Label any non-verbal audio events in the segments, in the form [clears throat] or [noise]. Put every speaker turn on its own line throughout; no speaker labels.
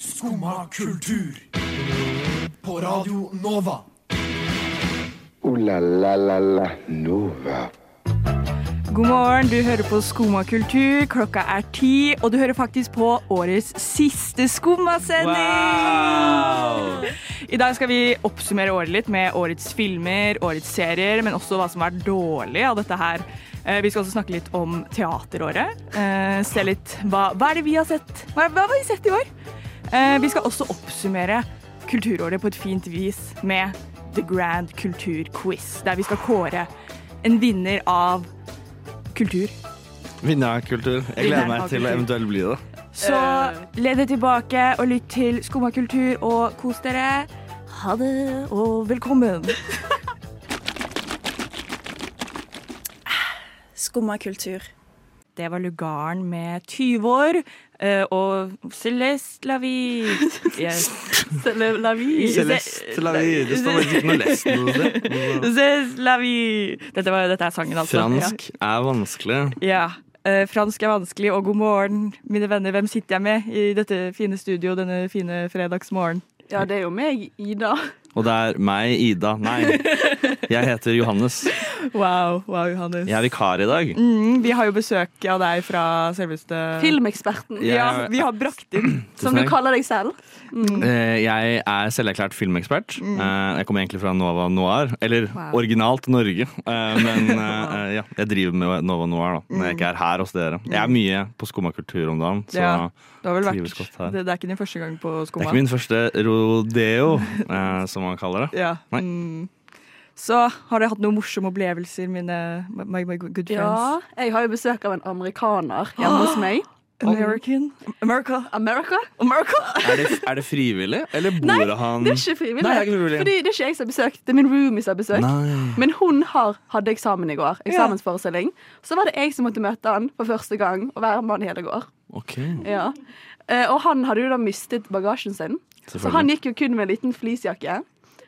Skumma kultur. På Radio Nova.
Ooh la la la la Nova.
God morgen, du hører på Skumma kultur. Klokka er ti, og du hører faktisk på årets siste Skumma-sending. I dag skal vi oppsummere året litt med årets filmer, årets serier, men også hva som har vært dårlig av dette her. Eh, Vi skal også snakke litt om teateråret. Eh, Se litt hva, hva er det vi har sett? Hva, hva har vi sett i år? Eh, Vi skal også oppsummere kulturåret på et fint vis med The Grand Kultur Quiz, der vi skal kåre en vinner av kultur.
Vinnerkultur. Jeg gleder meg til å eventuelt bli det.
Så le deg tilbake og lytt til Skumma kultur og kos dere. Ha det og velkommen.
Skumma kultur.
Det var lugaren med 20 år eh, og Celeste Lavie. Yes. Celeste Lavie.
Celeste Lavie. Det står faktisk ikke noe lest noe sted.
Celeste Lavie. Dette, var, dette er sangen, [laughs] altså.
Fransk er vanskelig.
Ja. ja. Eh, fransk er vanskelig, og god morgen, mine venner. Hvem sitter jeg med i dette fine studio denne fine fredagsmorgen?
Ja, det er jo meg, Ida.
Og det er meg, Ida. Nei, jeg heter Johannes.
Wow, wow, Johannes.
Jeg er vikar i dag.
Mm, vi har jo besøk av deg fra selveste
Filmeksperten,
Jeg-
Ja, vi har brakt
[clears throat]
inn.
som du
Tusen takk.
kaller deg selv.
Eh, Jeg er selverklært filmekspert.
Mm.
Eh, Jeg kommer egentlig fra Nova Noir, eller originalt Norge. Eh,
[laughs]
Men eh, ja, jeg driver med Nova Noir da, når jeg ikke er her hos dere. Jeg er mye på Skumma kultur om dagen, så
Mm. Ja. Du har vel
Trives godt her.
vært det, det er ikke din første gang på
det er
skumma?
ikke min første
[laughs]
rodeo, eh, som man kaller det.
Ja.
Nei.
Mm. Så har dere hatt noen morsomme opplevelser, mine my, my good friends?
Ja, jeg har jo besøk av en amerikaner hjemme
[gasps]
hos meg.
American. America.
America?
America.
Er det, er det frivillig, eller bor han
Det er ikke frivillig.
Nei, det er ikke frivillig.
Fordi det er ikke jeg som har besøk, det er min roomie som har besøk.
Nei.
Men hun har, hadde eksamen i går.
Ja.
Eksamensforestilling. Så var det jeg som måtte møte han for første gang og være med han hele går.
Ok,
Ja. Eh, Og han hadde jo da mistet bagasjen sin. Så han
selvfølgelig.
gikk jo kun med en liten fleecejakke.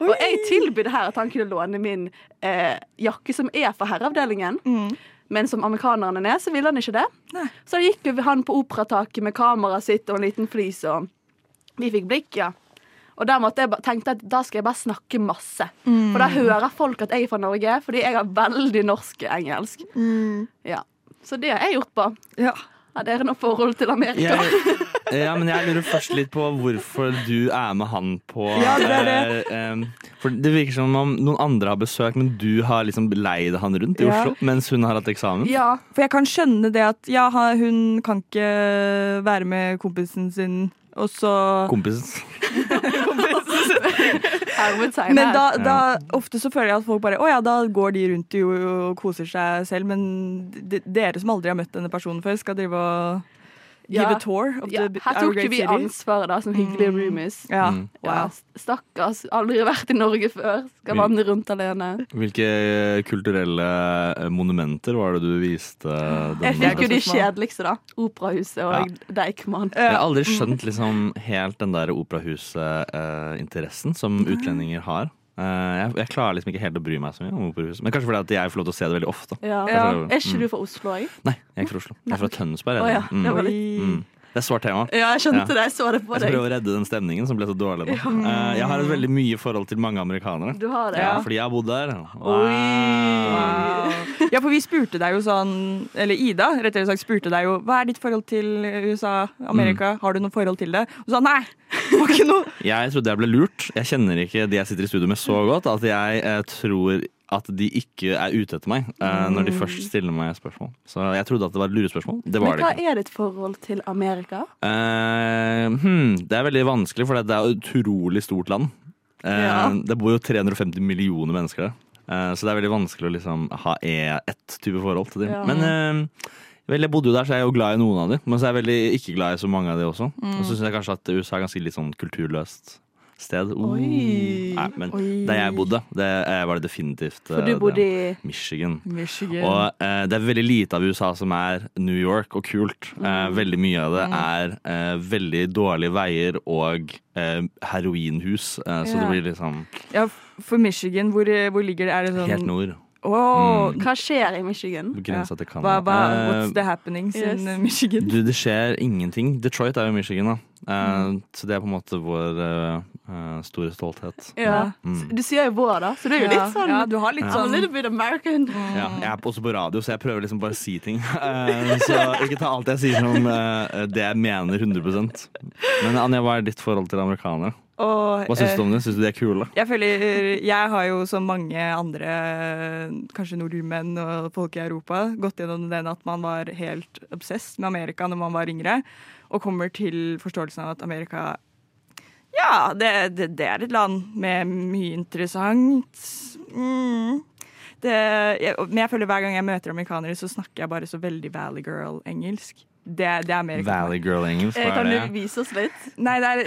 Og jeg tilbød her at han kunne låne min eh, jakke, som er for herreavdelingen. Men som amerikanerne er, så ville han ikke det.
Nei.
Så da gikk jo han på operataket med kameraet sitt og en liten flis, og vi fikk blikk, ja. Og der måtte jeg ba- tenkte jeg at da skal jeg bare snakke masse. For da hører folk at jeg er fra Norge, fordi jeg har veldig norsk engelsk. Ja. Så det har jeg gjort på.
Ja.
Har dere noe forhold til Amerika?
Jeg, ja, men jeg lurer først litt på hvorfor du er med han på
Ja, det er det.
eh, em, For det virker som om noen andre har besøk, men du har liksom leid han rundt i
Ja.
Oslo mens hun har hatt eksamen.
ja.
For jeg kan skjønne det at ja, ha- hun kan ikke være med kompisen sin, og så
Kompisen.
Hermetegn
Men
her.
da, da, ofte så føler jeg at folk bare Å ja, da går de rundt jo og koser seg selv, men de, dere som aldri har møtt denne personen før, skal drive og give
Ja.
a tour of
Ja,
the
her
our
tok
great
jo vi
city.
ansvaret da, som hyggelige roomies.
Ja.
Mm.
Ja,
Wow.
stakkars. Aldri vært i Norge før. Skal vandre rundt alene.
Hvilke kulturelle eh, monumenter var det du viste?
Jeg
Den?
Det er
Fikk
godt
jo de
spørsmål.
kjedeligste, da. Operahuset og Deichman.
Jeg har aldri skjønt liksom helt den der operahuset-interessen som utlendinger har. Eh, jeg, jeg klarer liksom ikke helt å bry meg så mye om operahuset. Men kanskje fordi at jeg får lov til å se det veldig ofte.
Ja.
Ja.
Er ikke du fra Oslo òg?
Nei, jeg er ikke fra Oslo. Jeg er fra Tønsberg.
Å
jeg.
ja,
Mm.
det var litt
Mm. Det er svart tema.
Ja, jeg skjønte
Ja.
det. Jeg så det på
Jeg skal
deg.
prøve å redde den stemningen som ble så dårlig. Da. Eh, jeg har et veldig mye forhold til mange amerikanere.
Du har det.
Ja,
Ja.
fordi jeg har bodd der. Wow.
Wow. Ja, for vi spurte deg jo sånn Eller Ida rettere sagt spurte deg jo hva er ditt forhold til USA,
Mm.
Amerika, har du noe forhold til det? Og så sa nei! Det var ikke
[laughs]
noe.
Jeg trodde jeg ble lurt. Jeg kjenner ikke de jeg sitter i studio med så godt at jeg eh, tror at de ikke er ute etter meg eh, når de først stiller meg spørsmål. Så jeg trodde at det var et lurespørsmål. Det var det
Mm. Men hva
ikke.
er ditt forhold til Amerika?
Eh, hmm, det er veldig vanskelig, for det er et utrolig stort land. Eh,
Ja.
Det bor jo 350 millioner mennesker der. Eh, så det er veldig vanskelig å liksom ha e- ett type forhold til dem.
Ja.
Men eh, vel, jeg bodde jo der, så jeg er jo glad i noen av dem. Men så er jeg veldig ikke glad i så mange av dem også.
Mm.
Og så syns jeg kanskje at USA er ganske litt sånn kulturløst sted. Oh.
Oi.
Nei, men
Oi.
der jeg bodde, det eh, var det definitivt
For
eh,
du bodde
det.
i
Michigan.
Michigan.
Og eh, det er veldig lite av USA som er New York og kult. Eh,
Mm.
veldig mye av det er eh, veldig dårlige veier og eh, heroinhus. Eh, så
Ja.
det blir liksom
ja, for Michigan, hvor, hvor ligger det? Er det sånn
helt nord. Mm.
Åh,
Hva skjer i Michigan?
Grensa til
hva,
Canada.
hva,
Eh,
what's the happenings in
Yes.
Michigan?
Du, det skjer ingenting. Detroit er jo Michigan, da. Eh,
Mm.
Så det er på en måte vår eh, eh, store stolthet.
Ja. Du sier jo vår, da, så du er jo
Ja,
litt sånn
ja, du har litt
I'm a
sånn
little bit American.
Ja, jeg er også på radio, så jeg prøver liksom bare å si ting. [laughs] Eh, Så ikke ta alt jeg sier som eh, det jeg mener 100 Men Anja, hva er ditt forhold til amerikanere?
Og,
Hva syns du om det? Syns du de er kule?
Jeg føler Jeg har jo som mange andre, kanskje nordmenn og folk i Europa, gått gjennom den at man var helt obsess med Amerika når man var yngre, og kommer til forståelsen av at Amerika Ja, det, det, det er et land med mye interessant. Mm. Det, jeg, og- men jeg føler hver gang jeg møter amerikanere, så snakker jeg bare så veldig Valley Girl-engelsk. Det, det er Amerika. for meg.
Valley Girl-engelsk,
Eh,
hva
Kan
er
du
det?
vise oss litt?
Nei, det er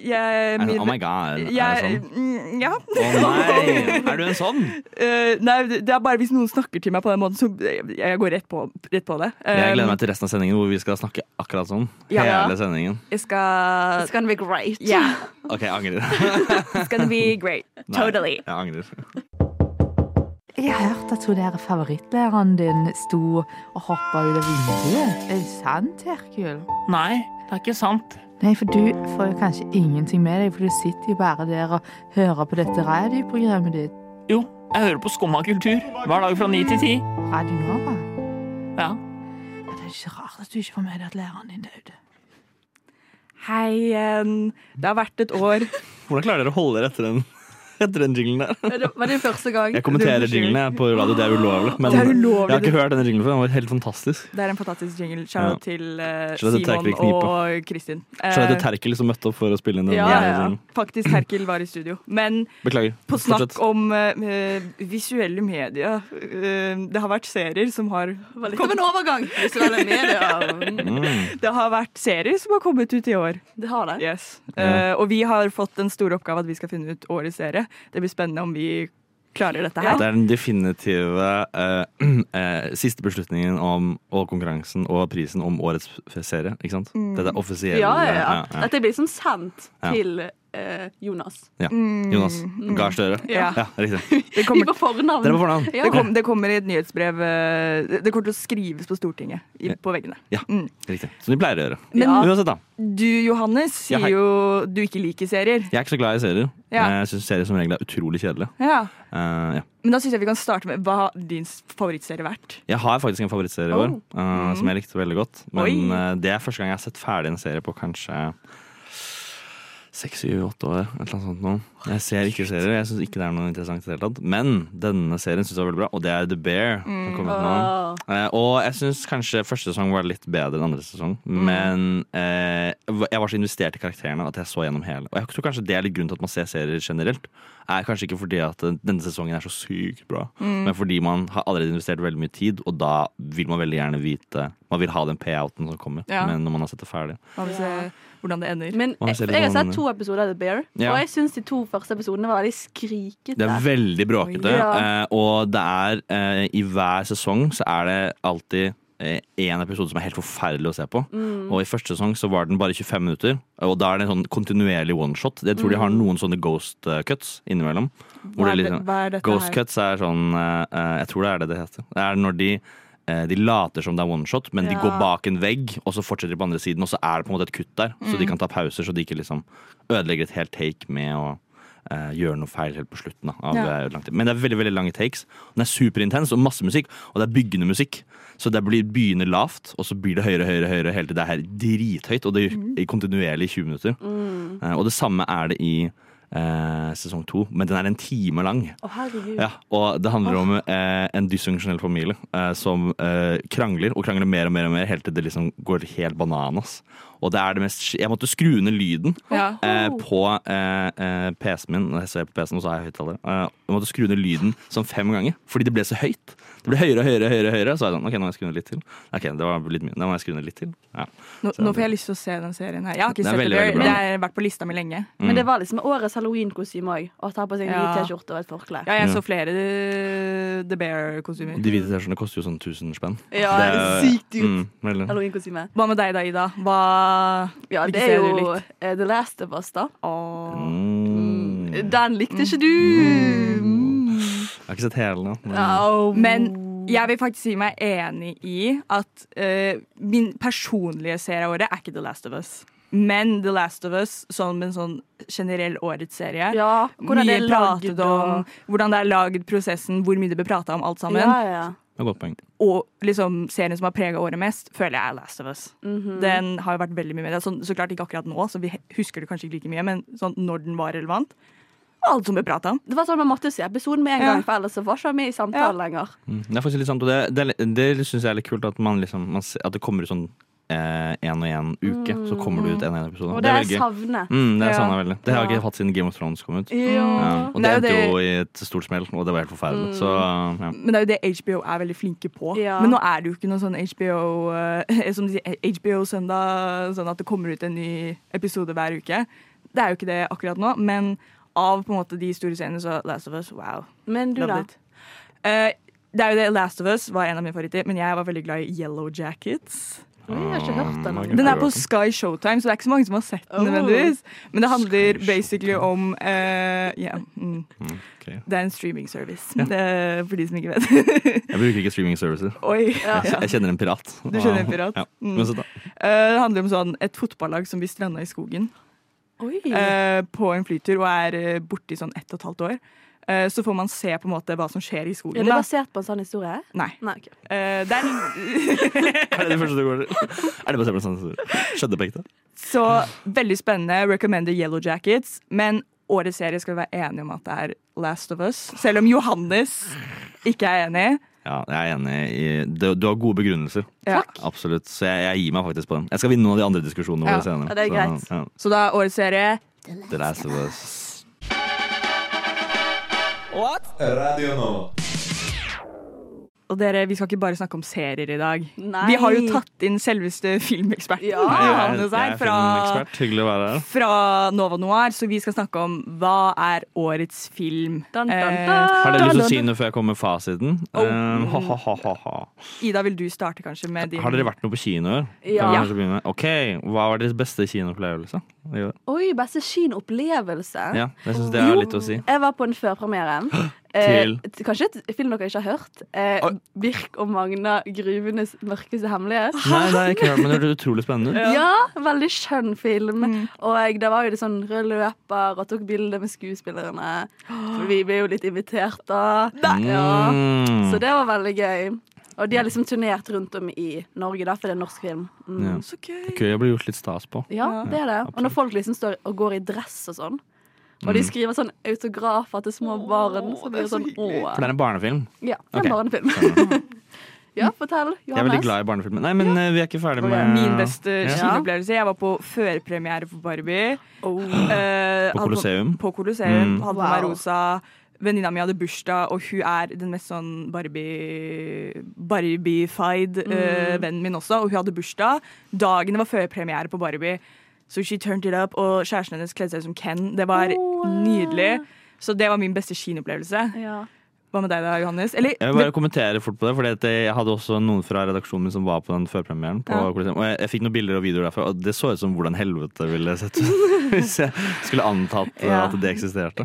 jeg,
Er det sånn, oh my god, er det
jeg, [laughs]
sånn?
mm, Ja.
Å
[laughs]
nei, er du en sånn?
Eh, nei, det det er bare hvis noen snakker til meg på den måten, så jeg, jeg går rett på, rett på det.
Jeg gleder meg til resten av sendingen hvor vi skal snakke akkurat sånn.
Um, Ja, ja.
Hele sendingen.
Jeg skal
It's gonna be great.
Yeah,
OK, jeg angrer.
[laughs] it's gonna be great.
[laughs] Nei,
Totally.
Jeg angrer.
Jeg hørte at hun der favorittlæreren din sto og hoppa ut av vinduet. Er det sant, Herkul?
Nei, det er ikke sant.
Nei, for du får jo kanskje ingenting med deg, for du sitter jo bare der og hører på dette radioprogrammet ditt.
Jo, jeg hører på Skumma kultur hver dag fra ni til ti.
Radio Nova.
Ja.
Ja, Det er ikke rart at du ikke får med deg at læreren din døde.
Hei igjen. Det har vært et år.
Hvordan klarer dere å holde dere etter den, [laughs] etter den jinglen der?
Er det- Var det første gang?
Jeg kommenterer
unnskyld.
jinglene på radio, det er ulovlig. Men
Det er ulovlig.
jeg har ikke hørt denne jinglen før. Den var helt fantastisk.
Det er en fantastisk jingle. Shout out til eh,
Shout out
Simon
til Terkel Knipe.
og Kristin. Eh,
Charlotte Terkel som møtte opp for å spille inn den.
ja,
jævla
ja, ja.
jinglen.
Faktisk Terkel var i studio. Men
Beklager.
på snakk
Fortsett.
om eh, visuelle medier eh, Det har vært serier som har
Litt av en overgang. Visuelle [laughs] medier.
Mm.
Det har vært serier som har kommet ut i år.
Mm. Det har det.
Yes. Eh, og vi har fått den store oppgave at vi skal finne ut årets serie. Det blir spennende om vi klarer dette her.
Det er den definitive eh, [clears throat] eh, siste beslutningen om og konkurransen og prisen om årets f- serie. Ikke sant? Dette er offisiell
Mm. Ja, ja,
ja,
ja.
ja.
Dette blir liksom sendt
Ja.
til eh, Jonas.
Ja.
mm.
Jonas Gahr Støre.
Ja.
Ja, riktig.
Det
Vi
kommer,
på fornavn.
Dere er på fornavn.
Ja.
det, kom, det kommer i et nyhetsbrev eh, Det kommer til å skrives på Stortinget i, på veggene.
Ja, riktig. Som de pleier å gjøre.
Men-
Uansett, da.
Du, Johannes,
Ja,
sier
hei.
jo du ikke liker serier.
Jeg er ikke så glad i serier. Eh,
Ja.
Jeg syns serier som regel er utrolig kjedelige.
Ja.
Eh, ja.
Men da syns jeg vi kan starte med hva har din favorittserie vært.
Jeg har faktisk en favorittserie i år
Oh.
eh, som
Mm.
jeg likte veldig godt. Men eh, det er første gang jeg har sett ferdig en serie på kanskje seks, syv, åtte år. Et eller annet sånt noe. Jeg ser ikke serier. Jeg syns ikke det er noe interessant i det hele tatt. Men denne serien syns jeg var veldig bra, og det er The Bear. som kom ut nå. Eh, og jeg syns kanskje første sesong var litt bedre enn andre sesong. Men eh, jeg var så investert i karakterene at jeg så gjennom hele. Og jeg tror kanskje det er litt grunnen til at man ser serier generelt. Er kanskje ikke fordi at eh, denne sesongen er så sykt bra, men fordi man har allerede investert veldig mye tid, og da vil man veldig gjerne vite Man vil ha den payouten som kommer,
Ja.
men når man har sett det ferdig.
Hva vil
Ja.
se hvordan det ender.
Men
Å, jeg
jeg,
ser litt
jeg har
vanlig.
sett to episoder av The Bear,
Ja.
og jeg syns de to første episodene var veldig skrikete.
Det er veldig bråkete,
Ja.
eh, og det er eh, I hver sesong så er det alltid eh, én episode som er helt forferdelig å se på.
Mm.
Og i første sesong så var den bare 25 minutter, og da er det en sånn kontinuerlig oneshot. Jeg tror de har noen sånne ghost eh, cuts innimellom. hvor
Mm. Hva er,
det
det-
liksom-
hva er dette
Ghost
her?
cuts er sånn eh, eh, Jeg tror det er det det heter. Det er når de eh, de later som det er one shot, men de
Ja.
går bak en vegg, og så fortsetter de på andre siden, og så er det på en måte et kutt der. Så
Mm.
de kan ta pauser, så de ikke liksom ødelegger et helt take med å eh, gjøre noe feil helt på slutten. Da, av
Ja.
eh, lang tid. Men det er veldig veldig lange takes. Den er superintens, og masse musikk, og det er byggende musikk. Så det blir, begynner lavt, og så blir det høyere, høyere, høyere helt til det er her drithøyt, og det er
Mm.
i kontinuerlig i 20 minutter. Eh, og det samme er det i eh, sesong to, men den er en time lang.
Å, herregud.
Ja, og det handler om eh, en dysfunksjonell familie eh, som eh, krangler og krangler mer og mer og mer helt til det liksom går helt bananas. Og det er det mest Jeg måtte skru ned lyden
Ja.
eh, på eh, eh, PC-en min. Når jeg ser på PC-en, og så har jeg høyttaler. Eh, jeg måtte skru ned lyden sånn fem ganger fordi det ble så høyt. Det ble høyere og høyere, høyere, høyere. Så er jeg sånn, ok, nå må jeg skru ned litt til. Ok, det var litt mye. Nå må jeg skru ned litt til. Ja.
Nå, nå får jeg lyst til å se den serien her. Jeg har ikke
Den er
sett
veldig,
det,
veldig
men
bra.
det har vært på lista mi lenge.
mm.
Men det var liksom årets halloween-kostyme òg. Å ta på seg en
Ja.
hvit T-skjorte og et forkle.
Ja, jeg
Ja.
så flere eh, The Bear-kostymer.
De hvite T-skjortene koster jo sånn 1000 spenn.
Ja,
Det er-
sykt dyrt.
Mm, veldig.
Halloween-kostyme.
Hva med deg da, Ida? Hva
Ja,
Hvilke
det
serier
er
du
jo
liker?
eh, The Last of Us, da.
Åh.
Mm.
Den likte ikke du. Mm.
Ok, har ikke sett hele nå. Men,
Men jeg vil faktisk si meg enig i at eh, min personlige serie av året er ikke The Last of Us. Men The Last of Us som en sånn generell årets serie.
Ja, hvordan det
mye
er
pratet
laget
om,
og
hvordan det er laget, prosessen, hvor mye det ble prata om, alt sammen.
Ja, ja.
det er et godt poeng.
Og liksom serien som har prega året mest, føler jeg er Last of Us.
Mhm.
Den har jo vært veldig mye med det. Sånn, så klart ikke akkurat nå, så vi he- husker det kanskje ikke like mye, men sånn når den var relevant. Alt som ble prata om.
Det var sånn Man måtte se episoden med en
Ja.
gang, for ellers så var ikke vi i
Ja.
samtale lenger.
Mm. Det er faktisk litt sant, og det, det, er- det syns jeg er litt kult, at, man liksom, man, ser- at det kommer ut sånn én eh, en og én uke. Så kommer det ut en og en episode.
Og
Det
det
er
jeg Mm.
veldig gøy.
savner.
Mm, det
Ja.
savner jeg veldig. Det har jeg
Ja.
ikke hatt siden Game of Thrones kom ut. Ja.
Ja.
Og det
Det er jo
endte
det-
jo i et stort smell, og det var helt forferdelig. Så ja.
Men det er jo det HBO er veldig flinke på.
Ja.
Men nå er det jo ikke noe sånn HBO eh, [laughs] Som de sier, HBO Søndag, sånn at det kommer ut en ny episode hver uke. Det er jo ikke det akkurat nå, men av på en måte de store seriene, så Last of Us, wow.
Men du,
Loved
da?
it. Eh, det er jo det Last of Us var en av mine favoritter, men jeg var veldig glad i Yellow Jackets.
Oi, Jeg har ikke hørt den.
Mm,
ennå.
Den er på Sky Showtime, så det er ikke så mange som har sett den.
Oh.
nødvendigvis Men det handler basically om eh, ja, mm,
ok.
Det er en streaming service, det, for de som ikke vet. [laughs]
Jeg bruker ikke streaming services.
Oi
Jeg, jeg kjenner en pirat.
Du kjenner en pirat?
Ja.
Mm.
Men så da.
Eh, Det handler om sånn, et fotballag som blir stranda i skogen
Oi.
eh, på en flytur og er eh, borte i sånn ett og et halvt år. Eh, så får man se på en måte hva som skjer i
Er
skogen.
det
Da.
basert på en sånn historie?
Nei.
Nei, ok.
Eh, det er
Er det det første du går til? [laughs] Er det bare å se på en sånn historie? Skjedde på ekte?
Så veldig spennende. Recommender Yellow Jackets. Men årets serie skal vi være enige om at det er Last of Us. Selv om Johannes ikke er enig.
Ja, jeg er enig i Du, du har gode begrunnelser.
Ja.
Absolutt. Så jeg, jeg gir meg faktisk på den. Jeg skal vinne noen av de andre diskusjonene
Ja,
våre senere.
ja, det er
Så, ja.
Så da er årets serie
The Last of Us.
Radio Nova.
Og dere, vi skal ikke bare snakke om serier i dag.
Nei.
Vi har jo tatt inn selveste filmeksperten
Ja.
Jeg er-
Johannes her
jeg er
fra,
filmekspert. Hyggelig å være her.
fra Nova Noir, så vi skal snakke om hva er årets film.
Dun, dun,
Eh,
dun.
Har dere lyst til å si noe før jeg kommer med fasiten?
Oh.
Um, ha, ha, ha, ha, ha.
Ida, vil du starte kanskje med din
Har dere vært noe på kinoer?
Ja.
Kan vi kanskje begynne med? Ok, Hva var deres beste kinoopplevelse? Jo,
Oi, beste kinoopplevelse.
Ja, jeg synes det har
Jo.
litt å si.
Jeg var på en førpremiere.
[gasps] Til?
Eh, t- kanskje et film dere ikke har hørt. Eh,
Oi.
Birk og Magna 'Gruvenes mørkeste hemmelighet'.
[gasps] Nei, det er ikke rart, men det hørtes utrolig spennende ut.
Ja. veldig skjønn film.
Mm.
Og det var jo det sånn rød løper og tok bilder med
[gasps]
skuespillerne. For vi ble jo litt invitert, da. [laughs] Ja.
Mm.
Så det var veldig gøy. Og de har liksom turnert rundt om i Norge, da, for det er norsk film. Mm.
Ja.
Så gøy.
Det er Gøy å bli gjort litt stas på.
Ja, det er det. Og når folk liksom står og går i dress og sånn, og de
Mm.
skriver sånn autografer til små barn, så blir det sånn
For det
åh.
er en barnefilm.
Ja, det er
Ok.
en
Sånn.
barnefilm. [laughs] ja, fortell,
Jeg er veldig
Johannes.
glad i barnefilmer. Nei, men eh, vi er ikke ferdig med
Min beste
Ja.
kinoopplevelse. Jeg var på førpremiere for Barbie.
Oh.
Eh, hadde
På Colosseum?
På Colosseum.
Mm.
Hadde på meg
Wow.
rosa. Venninna mi hadde bursdag, og hun er den mest sånn Barbie Barbie-fied
Mm.
eh, vennen min også, og hun hadde bursdag. Dagen det var førpremiere på Barbie. Så she turned it up, og kjæresten hennes kledde seg ut som Ken. Det var
Åh.
nydelig. Så det var min beste kinoopplevelse.
Ja.
Hva med deg da, Johannes? Eller
Jeg vil bare kommentere fort på det, for jeg hadde også noen fra redaksjonen min som var på den førpremieren. På
Ja.
Colosseum, og jeg, jeg fikk noen bilder og videoer derfra, og det så ut som hvordan helvete ville sett ut [laughs] hvis jeg skulle antatt eh,
Ja.
at det eksisterte.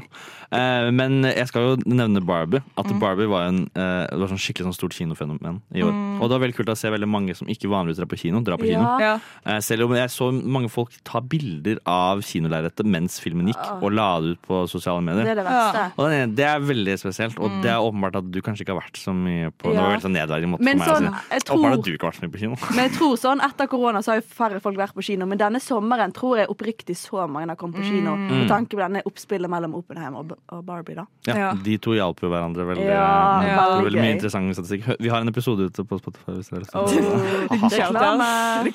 Eh, men jeg skal jo nevne Barbie. At Barbie var en eh, det var sånn skikkelig sånn stort kinofenomen i år. Og det var veldig kult å se veldig mange som ikke vanligvis drar på kino, drar på
Ja.
kino.
ja.
Eh, Selv om jeg så mange folk ta bilder av kinolerretet mens filmen gikk, og la det ut på sosiale medier.
Det er det verste.
Og det, det er veldig spesielt, og det er åpenbart at du kanskje ikke har vært så mye på Det
Ja.
var veldig sånn nedverdigende måte
Men
for meg
sånn,
å si.
jeg
Åpenbart
tror-
at altså- du ikke har vært så mye på kino.
Men jeg tror sånn, etter korona så har jo færre folk vært på kino, men denne sommeren tror jeg oppriktig så mange har kommet på kino.
Mm.
Med tanke på denne oppspillet mellom Oppenheim og, og Barbie, da.
Ja,
Ja.
De to hjalp jo hverandre veldig. eh,
Ja,
det
ja.
var veldig mye
gøy.
interessant statistikk. Hø- Vi har en episode ute på Spotify. Hvis dere har
Oh,
lyst til å se det.
liten shout-out.
Reklame.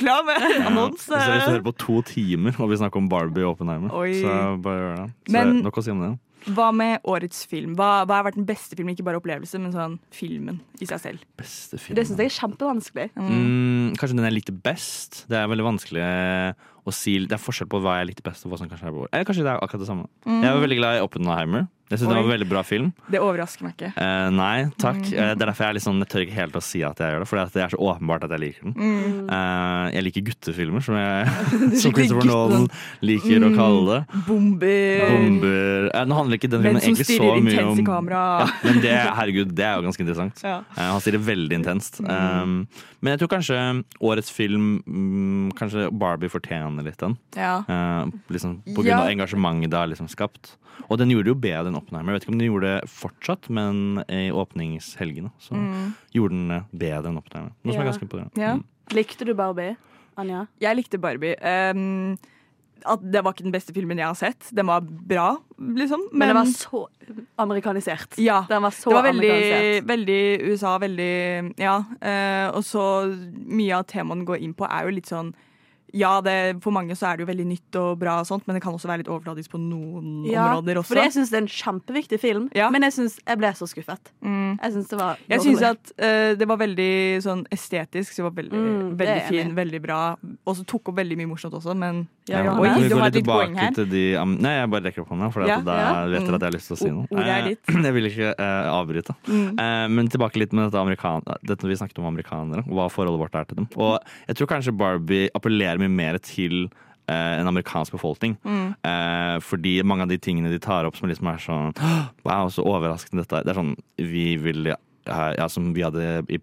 Reklame!
Hvis dere har lyst til å høre på to timer og vi snakker om Barbie og Oppenheimer,
Oi.
så bare gjør det. Så
Men-
nok å si om det.
Hva med årets film? Hva, hva har vært den beste filmen? Ikke bare opplevelse, men sånn filmen i seg selv.
Beste film.
Det syns jeg er kjempevanskelig.
Mm, kanskje den jeg likte best. Det er veldig vanskelig eh, å si Det er forskjell på hva jeg likte best og hva som kanskje er vår. Eller kanskje det er akkurat det samme. Jeg var veldig glad i Oppenheimer. Jeg syns det var en
Oi.
veldig bra film.
Det overrasker meg ikke.
Eh, nei, takk.
Mm.
Eh, Det er derfor jeg er litt sånn, jeg tør ikke helt å si at jeg gjør det, for det er så åpenbart at jeg liker den.
Mm.
Eh, jeg liker guttefilmer, som,
[laughs]
jeg, som
Mm. liker Mm.
Christopher Nolan liker å kalle det.
Bomber,
Bomber eh, Nå handler ikke den
menn
filmen
som
egentlig så
stirrer
mye
intenst i
om
kamera.
ja, men det, herregud, det er jo ganske interessant.
Ja. Mm.
Eh, han stirrer veldig intenst. Um, men jeg tror kanskje årets film mm, Kanskje Barbie fortjener litt den.
Ja.
Eh, liksom, på grunn
Ja.
av engasjementet det har liksom skapt. Og den gjorde det jo bedre enn Oppenheimer. Jeg vet ikke om den gjorde det fortsatt, men i åpningshelgene så gjorde den det bedre enn Oppenheimer. Noe som er
Ja.
ganske imponerende.
Ja.
Mm.
Likte du Barbie, Anja?
Jeg likte Barbie. Ehm, at det var ikke den beste filmen jeg har sett. Den var bra, liksom.
Men, den var så amerikanisert.
ja,
Den var så
det var veldig,
amerikanisert.
veldig USA, veldig Ja. eh, og så mye av temaet den går inn på, er jo litt sånn ja, det, For mange så er det jo veldig nytt og bra, og sånt, men det kan også være litt overfladisk på noen områder også.
for jeg syns det er en kjempeviktig film,
Ja. Mm.
men jeg synes, jeg ble så skuffet. Jeg syns det var
Jeg syns at eh, det var veldig sånn estetisk. Så det var veldig,
Mm, det er
veldig
jeg
fin,
enig
veldig bra. Og så tok opp veldig mye morsomt også, men
Ja,
Ja,
Johannes.
vi
du
går
har et
litt
litt poeng
tilbake
her.
til de am- Nei, jeg bare rekker opp hånda, for
Ja,
da
ja.
vet dere at jeg har lyst til å si
O-
noe.
ordet er
Eh, [clears throat]
ditt. Mm.
Jeg vil ikke eh, avbryte. Eh, men tilbake litt med dette, amerikan dette vi snakket om amerikanere, og hva forholdet vårt er til dem. Og jeg tror kanskje Barbie appellerer mye mer til eh, en amerikansk befolkning.
Mm.
Eh, fordi mange av de tingene de tar opp som liksom er sånn «Åh, Wow, så overraskende dette er. Det er sånn vi vil eh, Ja, som vi hadde i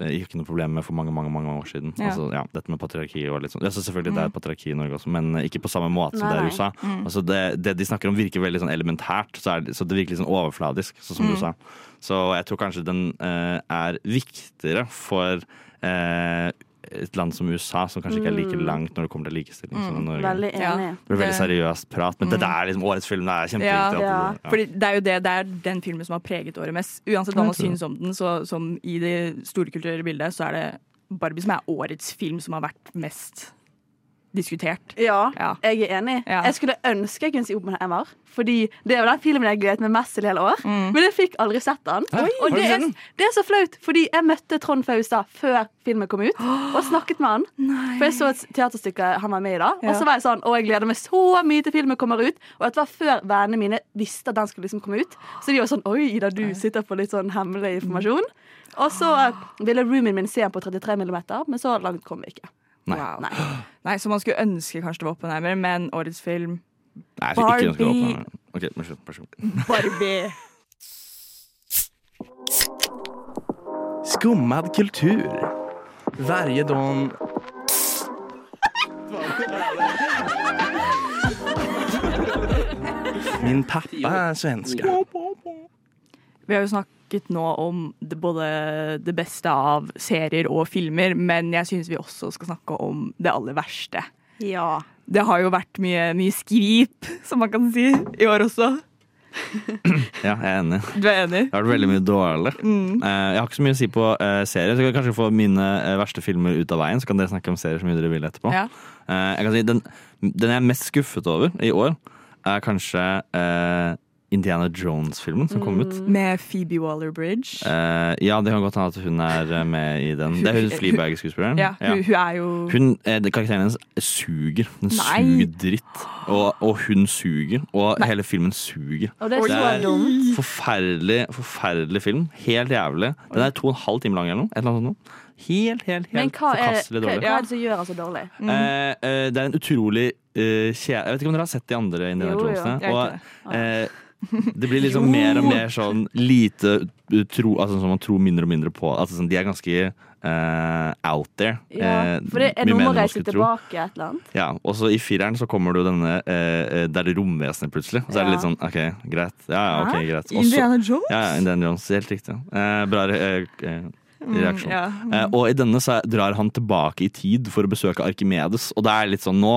eh, ikke noe problem med for mange mange, mange år siden.
Ja.
Altså, ja, dette med patriarki og litt sånn. Altså, selvfølgelig det er et patriarki i Norge også, men eh, ikke på samme måte som
Mm. Nei,
det er i
nei. Mm.
USA. Altså, det, det de snakker om virker veldig sånn elementært, så, er det, så det virker litt sånn overfladisk, sånn
Mm.
som du sa. Så jeg tror kanskje den eh, er viktigere for eh, et land som USA, som kanskje ikke er like langt når det kommer til likestilling som Norge.
Mm. Veldig
Ja.
enig.
Det blir veldig seriøst prat, men dette er liksom årets film. Det er
Ja,
kjempeviktig.
ja.
at du-
Fordi det er jo det, det er den filmen som har preget året mest. Uansett hva man synes om den, så som i det store kulturelle bildet, så er det Barbie som er årets film som har vært mest diskutert.
Ja,
Ja.
jeg er enig.
Ja.
Jeg skulle ønske jeg kunne si Oppenheimer. Fordi det er jo den filmen jeg gledet meg mest til hele år. Men jeg fikk aldri sett den. og det er, det er så flaut, fordi jeg møtte Trond Faustad før filmen kom ut, og snakket med han. For jeg så et teaterstykke han var med i da,
Ja.
og så var jeg sånn Å, jeg gleder meg så mye til filmen kommer ut. Og dette var før vennene mine visste at den skulle liksom komme ut. Så de var sånn Oi, Ida, du sitter på litt sånn hemmelig informasjon. Og så eh, ville roomien min se den på 33 millimeter, men så langt kom vi ikke.
Wow.
Nei.
Nei, så man skulle ønske kanskje det var Oppenheimer, men årets film
Nei, jeg fikk ikke ønske å
Barbie-
åpne den. Ok, vær så god, vær så god.
Barbie.
Skummad kultur. Varje dag. Min pappa er svenska.
Vi har jo snakket nå om det, både det beste av serier og filmer, men jeg syns vi også skal snakke om det aller verste.
Ja.
Det har jo vært mye, mye skvip, som man kan si, i år også.
Ja, jeg er enig.
Du er enig?
Det har vært veldig mye dårlig.
Mm.
Eh, jeg har ikke så mye å si på eh, serier. Så jeg kan kanskje få mine eh, verste filmer ut av veien, så kan dere snakke om serier så mye dere vil etterpå.
Ja.
Eh, jeg kan si den, den jeg er mest skuffet over i år, er kanskje eh, Indiana Jones-filmen som kom ut.
Med Phoebe Waller-Bridge.
Eh, ja, det kan godt hende at hun er eh, med i den. Det er hun Fleabag-skuespilleren.
Ja, hun, hun er jo
Mm, Hun, eh, det- karakteren hennes suger. Den
Nei.
suger dritt. Og, og hun suger. Og hele filmen suger.
Og det er
Oi.
så
Det er-
dumt.
Forferdelig, forferdelig film. Helt jævlig. Den er to og en halv time lang eller noe. Et eller annet sånt. noe. Helt, helt,
Men
helt
hva er, mm. hva,
forkastelig dårlig.
hva er det som gjør han så dårlig?
Eh, eh, det er en utrolig eh, kje... Jeg vet ikke om dere har sett de andre Indiana
Jo, jo.
Jonesene.
Jeg vet
Og, eh, det blir
[laughs]
liksom mer og mer sånn lite utro Altså sånn man tror mindre og mindre på. Altså sånn, De er ganske eh, out there.
Ja,
Eh,
for det
mye mer
er noe med å
enn man
reise
skulle tro.
tilbake et eller annet.
Ja, og så i fireren så kommer du denne eh, eh, Der er romvesenet plutselig. Og så er det
Ja.
litt sånn OK, greit. Ja, ja, ok, greit. Og så-
Indiana Jones?
ja, ja, Indiana Jones, helt riktig. Eh, bra eh, eh, reaksjon.
Mm, ja.
Eh, og i denne så er- drar han tilbake i tid for å besøke Arkimedes, og det er litt sånn Nå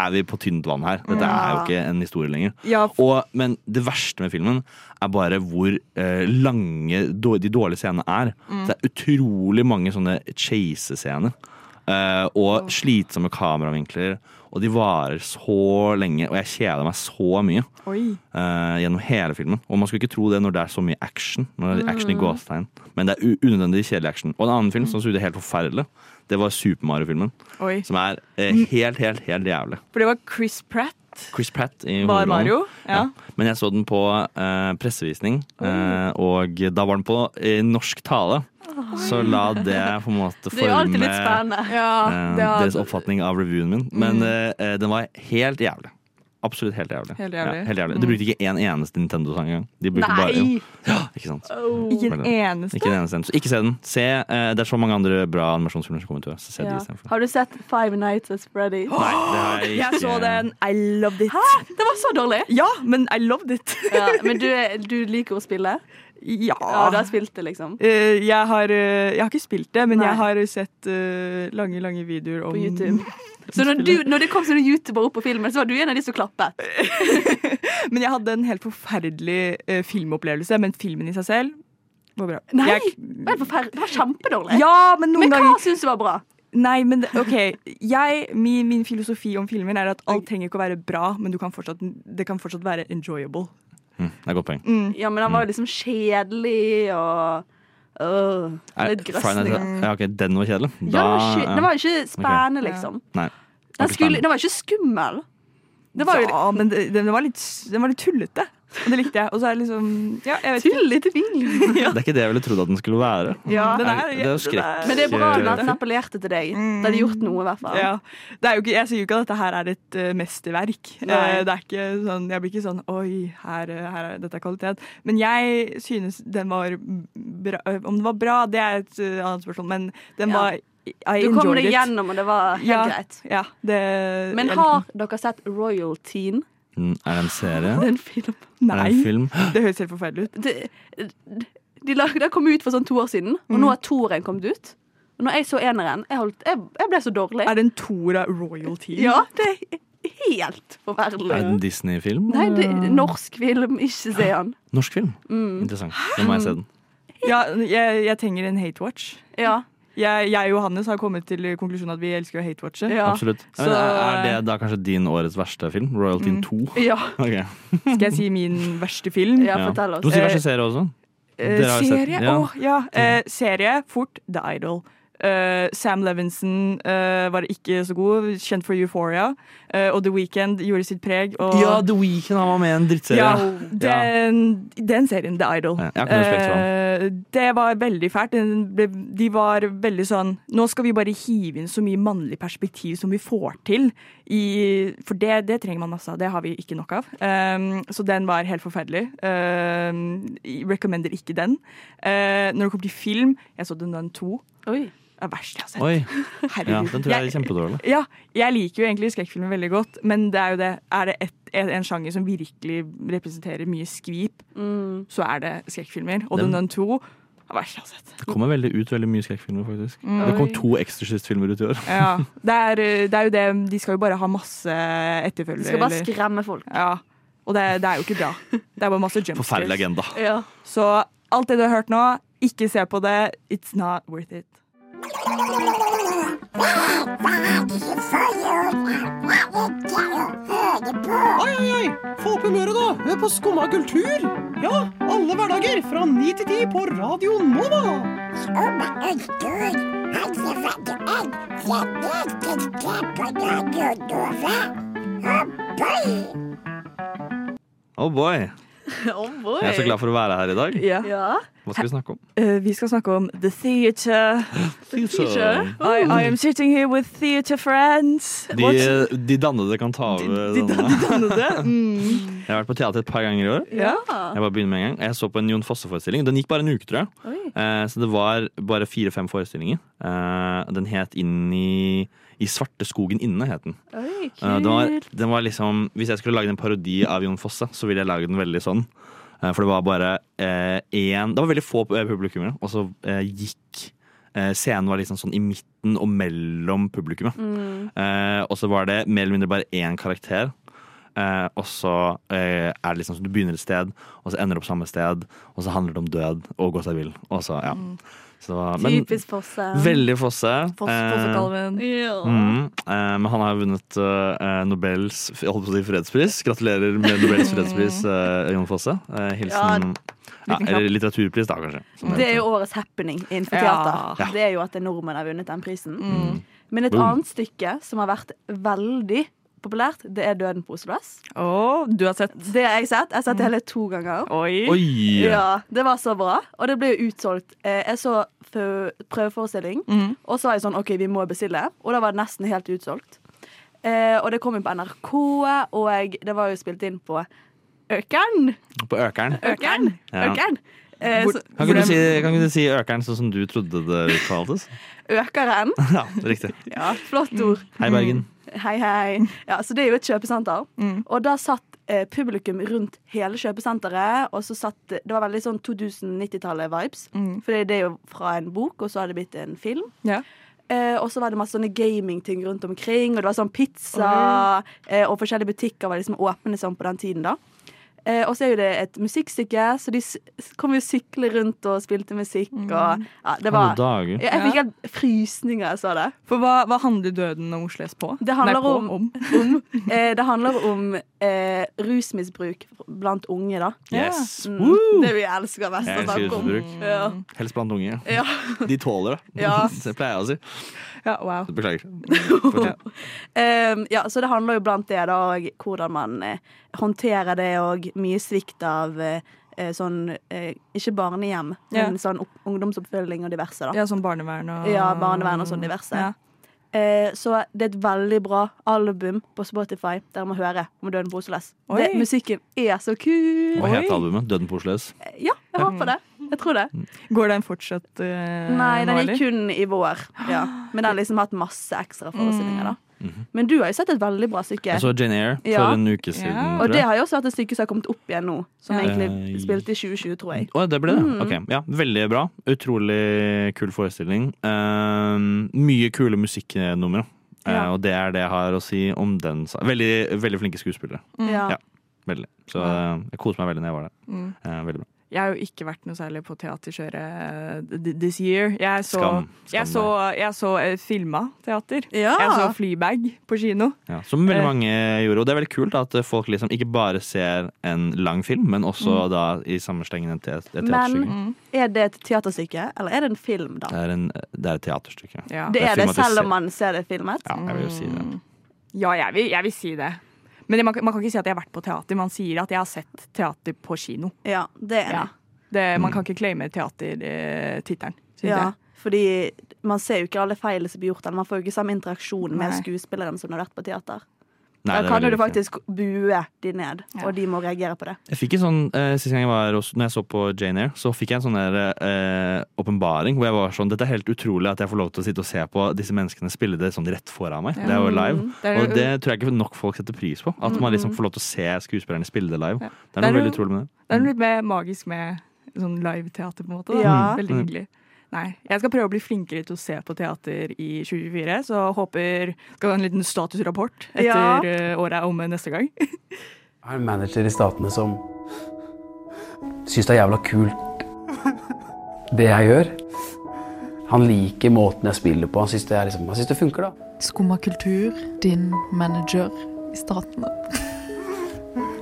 er vi på tynt vann her. Dette er jo ikke en historie lenger.
Ja, f-
Og, men det verste med filmen er bare hvor eh, lange då- de dårlige scenene er.
Mm.
Det er utrolig mange sånne chase-scener. eh, og slitsomme kameravinkler. Og de varer så lenge, og jeg kjeder meg så mye
Oi.
eh, gjennom hele filmen. Og man skulle ikke tro det når det er så mye action. Når det er
Mm.
action i gåstegn. Men det er u- unødvendig kjedelig action. Og en annen film som så ut helt forferdelig, det var Super Mario-filmen.
Oi.
Mm.
Som er eh, helt, helt, helt jævlig.
For det var Chris Pratt Pratt
Chris Pratt i
var
hovedrollen.
Mario. Ja.
Men jeg så den på eh, pressevisning, eh, og da var den på i norsk tale. Så la det på en måte
Det er jo alltid litt
forme
spennende.
eh, deres oppfatning av revyen min. Men
Mm.
eh, den var helt jævlig. Absolutt helt jævlig.
Helt jævlig.
Ja, helt jævlig. De brukte ikke en eneste Nintendo-sang engang. De brukte bare-
Mm. Nei!
Ja, ikke sant?
Ikke en
Veldig.
eneste.
Ikke en eneste en. Så ikke se den. Se, eh, det er så mange andre bra animasjonsfilmer som kommer til å være, så se de
Ja.
istedenfor.
Har du sett Five Nights at Freddy's?
[gasps] Nei, det har jeg ikke.
Jeg så den. I loved it.
Det var så dårlig!
Ja, men I loved it. [laughs]
Ja, men du, er- du liker å spille? Ja,
ja.
du har spilt det, liksom?
Eh, jeg, har, eh, jeg har ikke spilt det, men
Nei.
jeg har sett eh, lange, lange videoer om
Mm.
På YouTube.
[laughs]
Så når, du, når det kom sånne youtubere opp på filmen, så var du en av de som klappet?
[laughs]
Eh,
Men jeg hadde en helt forferdelig eh, filmopplevelse, men filmen i seg selv var bra.
Nei!
Jeg,
Det var helt forferdelig. Det var kjempedårlig.
ja, men noen
Men hva
ganger
syns du var bra?
Nei, men det- OK. Jeg, min, min filosofi om filmer er at alt trenger ikke å være bra, men du kan fortsatt, det kan fortsatt være enjoyable.
Mm, det er godt poeng.
Ja, men han var jo liksom kjedelig og øh,
Er-
Litt
Friday
grøssende.
Night- ja, ok, den var kjedelig.
Ja, den var, ikke,
ja.
den var jo ikke spennende, liksom.
Nei. Det var
Den,
ikke
skulle,
spennende.
den var jo ikke skummel. Det var jo
Ja, men det- den var litt, den var litt tullete. Og det likte jeg. Og så er det liksom Ja, jeg vet ikke.
tull
[laughs]
i tvil.
Det er ikke det jeg ville trodd at den skulle være.
Ja.
Den er,
Det er jo skrekk.
Men det er bra når den appellerte til deg. Det hadde gjort noe, i hvert fall.
Mm. Ja. Det er jo ikke, jeg sier jo ikke at dette her er et eh, mesterverk.
Nei.
Eh, det er ikke sånn, jeg blir ikke sånn Oi, her, eh, her er, dette er kvalitet. Men jeg synes den var bra. Om den var bra, det er et eh, annet spørsmål, men den
Ja.
var I
Du kom
enjoyed
deg
it.
gjennom, og det var helt
ja,
greit.
Ja, det,
Men
jeg likte
har dere sett Royal Teen?
Mm, Er det en serie?
Det er en film.
den.
Er det en
Nei.
film?
Det høres helt forferdelig ut.
Det, de la- det kom ut for sånn to år siden, og
Mm.
nå har toeren kommet ut. Og når jeg så eneren, jeg, holdt, jeg, jeg ble så dårlig.
Er det en Tora royalty?
Ja, det er helt
Er
forferdelig.
det en Disney-film?
Nei, det
Mm.
er norsk film. Ikke se han.
Norsk film?
Mm.
Interessant. Da må jeg se den.
Ja, jeg, jeg trenger en hate watch.
Ja.
Jeg, jeg og Johannes har kommet til konklusjonen at vi elsker å hate watche.
Ja.
Absolutt. Ja, men
Så-
er det da kanskje din årets verste film? Royal Teen 2?
Ja,
[laughs] Ok.
Skal jeg si min verste film?
ja fortell
Du må
oss. Eh,
si verste serie også.
Eh,
Dere har jo sett
serie?
den, ja.
Åh, ja. Eh, serie, fort, The Idol. Eh, Sam Levinson eh, var ikke så god, kjent for Euphoria. Eh, og The Weeknd gjorde sitt preg. Og,
Ja, The Weeknd han var med i en drittserie.
Ja,
Ja.
den, den serien, The Idol.
Ja, jeg har ikke noe respekt for
Eh, det var veldig fælt. Den ble, de var veldig sånn Nå skal vi bare hive inn så mye mannlig perspektiv som vi får til. I, for det, det trenger man masse av. Det har vi ikke nok av. Um, så den var helt forferdelig. Um, jeg recommender ikke den. Eh, når det kommer til film, jeg så den den to.
Oi.
Det er verst jeg har sett.
Oi. Ja,
Herregud.
den tror jeg er kjempedårlig.
Ja, jeg liker jo egentlig skrekkfilmer veldig godt, men det er jo det. Er det et, en, en sjanger som virkelig representerer mye skvip,
Mm.
så er det skrekkfilmer. Og Den
Den-
Nun 2 er verst jeg har sett.
Det kommer veldig ut veldig mye skrekkfilmer, faktisk. Det kom to Exorcist-filmer ut i år.
Ja, [laughs] det, er, eh, det er jo det De skal jo bare ha masse etterfølgere.
Du skal bare
eller-
skremme folk.
ja. Og det, det er jo ikke bra. Det er bare masse
Forferdelig
jumpscares.
agenda.
[laughs] Ja.
Så alt det du har hørt nå, ikke se på det. It's not worth it.
Oi, oi, oi! Få opp humøret, da! Hør på Skumma kultur! Ja, alle hverdager fra ni til ti på Radio Nova!
Oh boy.
Oh,
Jeg er så glad for å være her i dag.
Ja.
Hva skal vi snakke om?
Eh, vi skal snakke om The Theatre. I, I am sitting here with theatre friends.
De, eh,
What's- [laughs]
de dannede kan ta over sånn-
de, de,
denne.
de dannede.
Jeg har vært på teater et par ganger i år.
Ja.
Jeg bare begynner med en gang. Jeg så på en Jon Fosse-forestilling. Den gikk bare en uke, tror jeg.
Oi.
Eh, Så det var bare fire-fem forestillinger. Eh, Den het Inn i, i svarte skogen inne, het den.
Oi,
Eh, Den var,
kult.
den var liksom, hvis jeg skulle lage en parodi av Jon Fosse, så ville jeg lage den veldig sånn. Eh, For det var bare eh, én Det var veldig få eh, publikummere, og så eh, gikk eh, Scenen var liksom sånn i midten og mellom publikummet.
Mm.
Eh, og så var det mer eller mindre bare én karakter. Eh, og så eh, er det liksom sånn du begynner et sted, og så ender du opp samme sted, og så handler det om død og gå seg vill. Og så, ja. Så, men
Mm. Typisk Fosse.
veldig Fosse.
Foss,
Eh,
Fossekalven.
Ja.
Mm, eh, men han har vunnet eh, Nobels jeg holdt på å si fredspris. Gratulerer med Nobels fredspris, eh, Jon Fosse. Eh, hilsen ja, Eller litteraturpris, da, kanskje. som
Det er
heter.
jo årets happening innenfor
Ja.
teater.
Ja.
Det Mm. er jo at en nordmann har vunnet den prisen. Men et annet stykke som har vært veldig populært, det er Døden på Oslo S.
Å, du har sett
Det har jeg sett. Jeg har sett det hele to ganger.
Oi.
Oi!
Ja, Det var så bra. Og det ble jo utsolgt. Eh, Jeg så fø- prøveforestilling, og så var jeg sånn OK, vi må bestille. Og da var det nesten helt utsolgt. Eh, og det kom jo på NRK, og jeg, det var jo spilt inn på Økern.
På økeren.
Økern!
Ja.
Økern. Eh, så-
Kan ikke, du si, kan ikke du si økeren sånn som du trodde det uttaltes?
Økeren.
[laughs] Ja, riktig.
Ja, flott ord.
Hei,
Mm,
Bergen.
Hei, hei. Ja, så det er jo et kjøpesenter. Og da satt eh, publikum rundt hele kjøpesenteret, og så satt Det var veldig sånn 2090-tallet-vibes.
Mm.
For det er jo fra en bok, og så har det blitt en film.
Ja.
Eh, og så var det masse sånne gamingting rundt omkring, og det var sånn pizza eh, Og forskjellige butikker var liksom åpne sånn på den tiden, da. Eh, og så er jo det et musikkstykke, så de s- kom jo syklende rundt og spilte musikk, og ja, det
Alle
var
dager.
ja, Jeg fikk helt frysninger da jeg så det.
For hva, hva handler døden om Oslo S på?
Det handler
Nei, på,
om- Eh, det handler om eh, rusmisbruk blant unge, da.
Yes.
Mm,
Woo!
Det vi elsker mest
Jeg
å
elsker
snakke om.
rusmisbruk.
Ja.
Helst blant unge.
Ja.
[laughs] De tåler det.
Ja.
[laughs] Det pleier jeg å si.
Ja, wow.
Beklager.
Ehm, ja, så det handler jo blant det, da, og hvordan man eh, håndterer det, og mye svikt av eh, eh, sånn eh, Ikke barnehjem,
Ja.
men sånn opp- ungdomsoppfølging og diverse, da.
Ja, sånn barnevern og
Ja, barnevern og sånn diverse.
Ja.
Eh, så det er et veldig bra album på Spotify der man hører om Døden på Oslo S.
Oi.
Det- Musikken er så kul!
Hva het albumet? Døden på Oslo S?
Ja, jeg håper det. Jeg tror det.
Mm. Går den fortsatt eh,
Nei,
nå,
den
eller?
gikk kun i vår. Ja. Men den har liksom hatt masse ekstra forestillinger, da.
Mm.
Men du har jo sett et veldig bra stykke.
Jeg så Jane Eyre for
Ja.
en uke siden.
Ja.
tror
Og det
jeg.
har jo også vært et stykke som har kommet opp igjen nå, som
Ja.
egentlig
Mm. Eh,
spilte i 2020, tror jeg.
Å, det ble det?
Mm.
Ok, ja, Veldig bra. Utrolig kul forestilling. Ehm, mye kule musikknumre. Eh,
Ja.
og det er det jeg har å si om den. sa- Veldig, veldig flinke skuespillere.
Ja.
Mm.
Ja. Veldig. Så eh, jeg koste meg veldig når jeg var der.
Mm.
Eh, veldig bra.
Jeg har jo ikke vært noe særlig på teaterkjøret eh, th- this year. Jeg så,
Skam. Skam
jeg så, jeg så eh, filma teater.
Ja.
Jeg så Flybag på kino.
Ja, som veldig
Eh.
mange gjorde. Og det er veldig kult da, at folk liksom ikke bare ser en lang film, men også da i sammenstengen et, et teaterstykke.
Mm. Men Mm. er det et teaterstykke, eller er det en film, da?
Det er, en, det er et teaterstykke.
Ja,
Det
er
er det,
filmatisert.
selv om man ser det filmet?
Ja, jeg vil jo si det.
Mm.
ja jeg, vil, jeg vil si det. Men det- man, kan- man kan ikke si at jeg har vært på teater. Man sier at jeg har sett teater på kino.
Ja, det er
Ja.
det.
Det, man kan ikke claime teatertittelen, syns
Ja,
jeg.
fordi man ser jo ikke alle feilene som blir gjort. eller Man får jo ikke samme interaksjon med
Nei.
skuespilleren som har vært på teater.
Nei, det
da
er
kan
veldig
jo du
viktig.
faktisk bue de ned, og de må reagere på det.
Jeg fikk en sånn, eh, Sist gang jeg var hos, Når jeg så på Jane Eyre, så fikk jeg en sånn der, eh, åpenbaring hvor jeg var sånn Dette er helt utrolig at jeg får lov til å sitte og se på disse menneskene spille det sånn rett foran meg. Det er jo live.
Mm, Det er-
og det tror jeg ikke nok folk setter pris på. At man liksom får lov til å se skuespillerne spille det live. Det er
Det
noe
er
veldig
jo-
utrolig med det.
Det er noe litt mer magisk med sånn live-teater, på en måte. Da.
Ja.
Veldig hyggelig. Nei, Jeg skal prøve å bli flinkere til å se på teater i 2024, så håper skal ha en liten statusrapport etter
Ja.
eh, året er omme neste gang. [laughs]
Jeg er en manager i statene som syns det er jævla kult, det jeg gjør. Han liker måten jeg spiller på. Han syns det, er liksom, han synes det funker, da.
Skumma kultur, din manager i staten.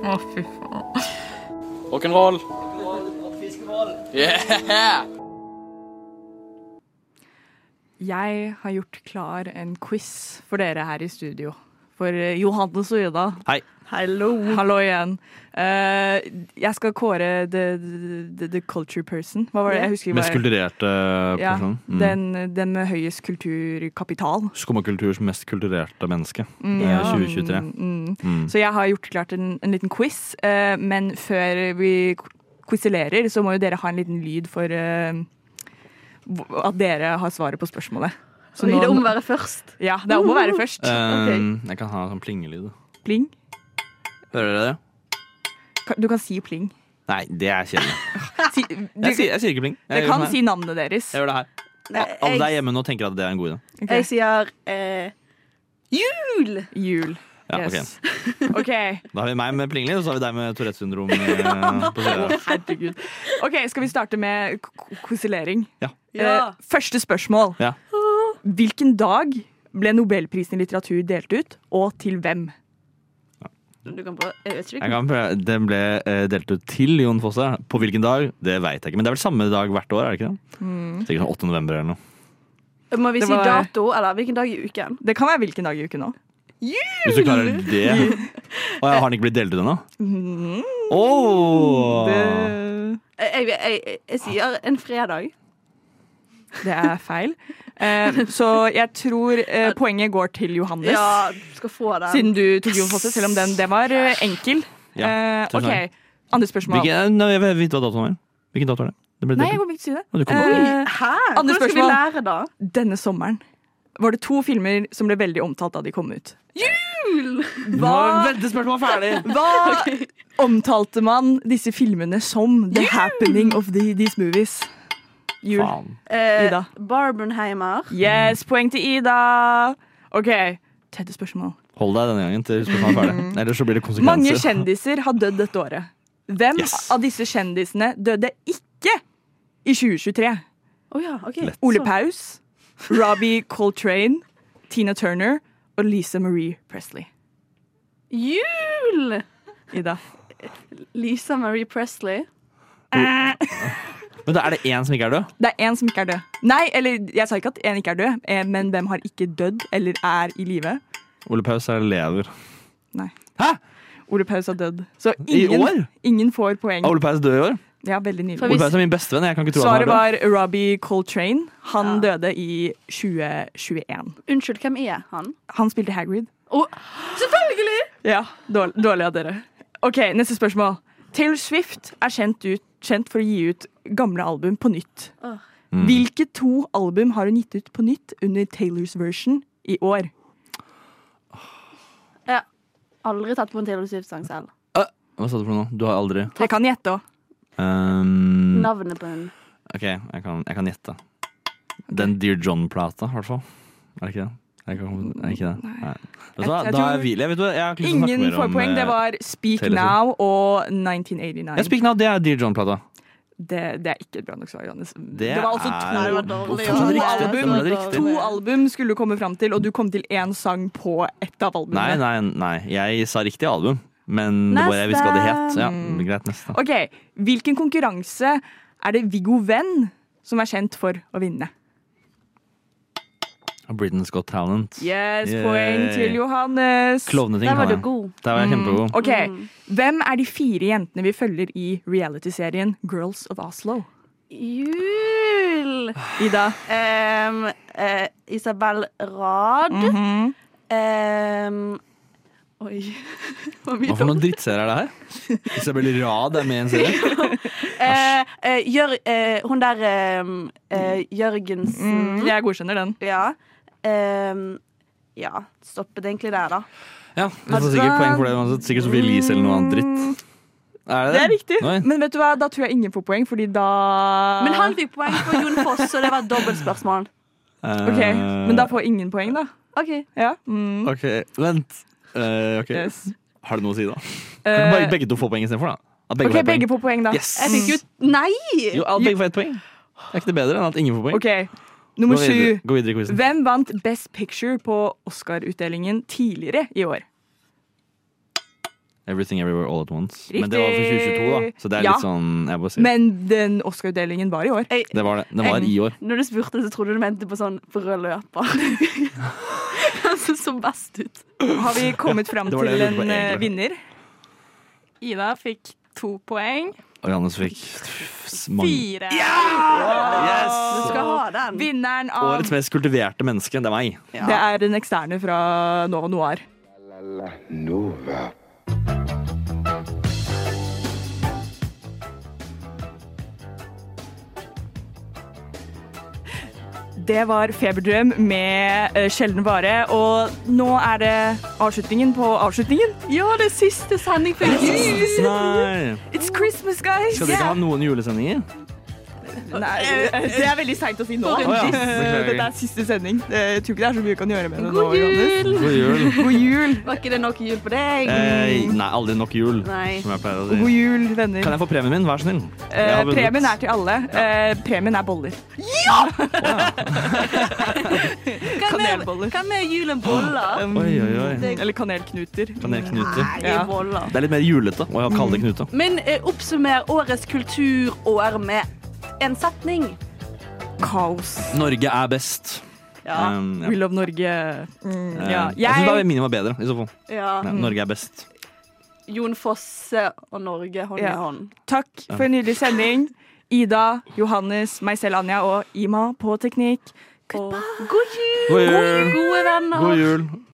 Å, fy faen.
Rock'n'roll.
Jeg har gjort klar en quiz for dere her i studio. For eh, Johannes og Ida.
Hei.
Hallo. Hallo igjen. Eh, jeg skal kåre the, the, the culture person. Hva var det? Jeg husker
Mest
hva-
kulturerte
ja,
personen. Mm.
den, den med høyest kulturkapital.
Skummakulturs mest kulturerte menneske.
Mm.
Eh, 2023.
Mm, mm.
Mm.
Så jeg har gjort klart en, en liten quiz, eh, men før vi qu- quizelerer, så må jo dere ha en liten lyd for eh, hvor- at dere har svaret på spørsmålet. Så
Oi,
nå-
det er om å være først.
Ja, det er om å
Uh-huh.
være først.
Eh, Jeg kan ha en sånn plingelyd.
Pling.
Hører dere det?
Ka- Du kan si pling.
Nei, det er kjedelig.
Si, du,
Jeg, sier- jeg sier ikke pling. Jeg
dere
gjør
kan
sånn her.
si navnet deres.
Jeg gjør det her.
Nei,
Alle der
jeg,
hjemme nå tenker at det er en god idé.
Ok.
jeg sier eh, jul!
Jul.
Ja,
Yes. [laughs] OK.
Da har vi meg med plingelyd, og så har vi deg med Tourettes syndrom. eh,
[laughs]
på siden.
Herregud. Ok, Skal vi starte med k- k- kviselering?
Ja.
Ja.
Eh, første spørsmål.
Ja.
Hvilken dag ble nobelprisen i litteratur delt ut, og til hvem?
Eh, Du kan prøve. Jeg vet
Jeg
ikke.
kan prøve. Den ble eh, delt ut til Jon Fosse. På hvilken dag? Det veit jeg ikke. Men det er vel samme dag hvert år? er det ikke det?
Mm.
Sikkert sånn 8. november eller noe.
Må vi
Det
si
var-
dato, eller hvilken dag i uken?
Det kan være hvilken dag i uken nå.
Hvis du klarer det
[laughs]
Å, ja, Har den ikke blitt delt ut ennå? Åh!
Mm. Det,
Jeg, jeg, jeg, jeg sier en fredag.
det er feil. Eh, så jeg tror eh, poenget går til Johannes.
Ja, du skal få den.
Siden du tok Jon Fosse, selv om den, den var eh, enkel.
Ja,
Eh,
tusen takk.
OK, andre spørsmål.
Hvilken, nei, jeg vil vite hva datoen er. Hvilken dato er det? Det ble
Nei, jeg
delt ut.
kommer ikke til å si det.
Å, du kommer-
Eh,
Hæ?
Andre
Hvordan skal vi
spørsmål.
lære, da?
denne sommeren var det to filmer som ble veldig omtalt da de kom ut.
Nå er ventespørsmålet ferdig!
Hva omtalte man disse filmene som? The happening of the, these movies. Jul.
Faen.
Eh,
Ida.
Barbenheimer.
Yes, poeng til Ida. OK, tredje spørsmål.
Hold deg denne gangen til spørsmålet er ferdig. Ellers så blir det
Mm. Mange
konsekvenser.
kjendiser har dødd dette året. Hvem
Yes.
av disse kjendisene døde ikke i 2023?
Å ja, ok.
Ole Paus, Robbie Coltrane, Tina Turner og Lisa Marie Presley.
Jul!
Ida.
Lisa Marie Presley.
Men da er det én som ikke er død?
Det er én som ikke er død. Nei, eller jeg sa ikke at én ikke er død, eh, men hvem har ikke dødd eller er i live?
Ole Paus er lever.
Mm. Nei.
Hæ?
Ole Paus er dødd. Så
I
ingen,
år?
ingen får poeng.
Er Ah, Ole Paus død i år?
Ja, veldig
For
nylig.
vi-
Ole Paus er min bestevenn. Jeg kan ikke tro at
Svaret
han er død.
var Robbie Coltrane. Han døde i 2021.
Unnskyld, hvem er han?
Han spilte Hagrid.
Å, selvfølgelig!
Ja, dårlig, dårlig av dere. Ok, neste spørsmål. Taylor Swift er kjent, ut, kjent for å gi ut gamle album på nytt.
Åh.
Mm.
Hvilke to album har hun gitt ut på nytt under Taylors version i år?
Jeg har aldri tatt på en Taylor Swift-sang selv.
Hva sa du for noe? nå? Du har aldri
Jeg kan gjette òg. Mm.
Ehm,
Navnet på hun.
OK, jeg kan, jeg kan gjette. Den Dear John-plata, i hvert fall. Er det ikke det? Jeg kan, er det ikke det? Nei. Vet du hva,
Jeg- jeg
da
tror-
er vi jeg, vet du, hva, jeg har ikke lyst til å snakke
Ingen
mer
får
om
poeng.
eh,
Det var Speak
Taylor Swift.
Now og
Ja,
1989.
Speak Now, det er Dear John-plata.
Det, det er ikke et bra nok svar, Johannes. Det,
Det
var altså
er-
to,
Nei, det var
dårlig,
to,
ja. Det var
album,
dårlig. Det var
to
dårlig.
album skulle du komme fram til, og du kom til én sang på ett av albumene.
Nei, nei, nei. Jeg sa riktig album, men det var jeg visste hva det het. Ja, greit, neste.
Ok, Hvilken konkurranse er det Viggo Venn som er kjent for å vinne?
Britain's Got Talent.
Yes,
Yay.
poeng til Johannes.
Klovneting
Der var
kan
du
jeg.
god.
Der var jeg kjempegod.
Ok, Hvem er de fire jentene vi følger i realityserien Girls of Oslo?
Jul!
Ida.
Ehm, eh, Isabel Rad.
Mm. Mhm.
Ehm, oi. [laughs] Det var mye
Hva for noen
dumt.
drittseere er det her? Isabel Rad er med i en serie.
Eh, eh, Jør, eh, hun der ehm, eh, Jørgensen.
Mm, jeg godkjenner den.
Ja. Ehm, ja. Stoppet egentlig der, da.
Ja, Du får sikkert poeng for det uansett. Sikkert Sophie Elise eller noe annet dritt. Er
Mm.
det
Det er riktig,
Oi.
men vet du hva, da tror jeg ingen får poeng, fordi da
Men han fikk poeng for Jon Foss, så det var et dobbeltspørsmål.
[laughs] Ok,
Eh,
men da får ingen poeng, da.
OK.
Ja. Mm,
Ok, vent. Eh, ok.
yes.
Har det noe å si, da? Kan
Eh,
bare begge to få poeng istedenfor, da? At begge
OK,
får et
begge
poeng.
får poeng, da.
Yes.
Jeg fikk jo Nei!
Jo, at begge får ett poeng. Er ikke det bedre enn at ingen får poeng?
OK, nummer
Gå videre-
sju.
Gå videre i quizen.
Hvem vant Best Picture på Oscar-utdelingen tidligere i år?
Everything Everywhere All At Once. Men det var for
Riktig.
2022, da. Så det er
Ja.
litt sånn jeg bare sier.
Men den Oscar-utdelingen var i år.
Jeg,
Det var det. Den var i år.
når du spurte, så trodde du mente på sånn på rød [laughs] løper. Han som så best ut.
Har vi kommet fram
[laughs] det var det
til
jeg lurte
en
på
eh,
egentlig.
vinner?
Ida fikk to poeng.
Og Johannes fikk mange.
Fire.
Du
Yes!
skal ha den.
Vinneren av
Årets mest kultiverte menneske, det er meg.
Det er en eksterne fra Nova Noir.
La la Nova.
Det var Feberdrøm med eh, Sjelden vare, og nå er det avslutningen på avslutningen.
Ja, det er siste sending for jul!
Nei.
It's Christmas, guys!
Skal dere ikke ha noen julesendinger?
Nei, eh, det er veldig seint å si nå.
For en
Å, ja.
Eh,
Beklager.
Dette er siste sending. Eh, Jeg tror ikke det er så mye vi kan gjøre med det nå.
God jul!
God jul.
Johannes. God jul!
Var ikke det nok jul på deg?
Eh, nei, aldri nok jul,
Nei.
som jeg pleier å
God
si.
jul, venner.
Kan jeg få premien min? Vær så snill. Jeg
Eh,
har vunnet.
premien er til alle. Eh, premien er boller. Kanelboller.
Hva med jul og boller?
Oi, oi, oi.
Eller kanelknuter.
Kanelknuter.
Nei,
Ja.
boller.
Det er litt mer julete å ha kalde knuter.
Men eh, oppsummer årets kulturår med en setning.
Mm. Kaos.
Norge er best.
Ja.
Um, ja.
We love Norge. Mm,
Eh,
ja.
Jeg syns bare
Jeg
min var bedre, i så fall.
Ja.
Ja, Norge er best.
Jon Fosse og Norge hånd
Ja.
i hånd.
Takk for en nydelig sending. Ida, Johannes, meg selv, Anja og Ima på teknikk.
Og god jul,
God jul!
gode venner!
God jul!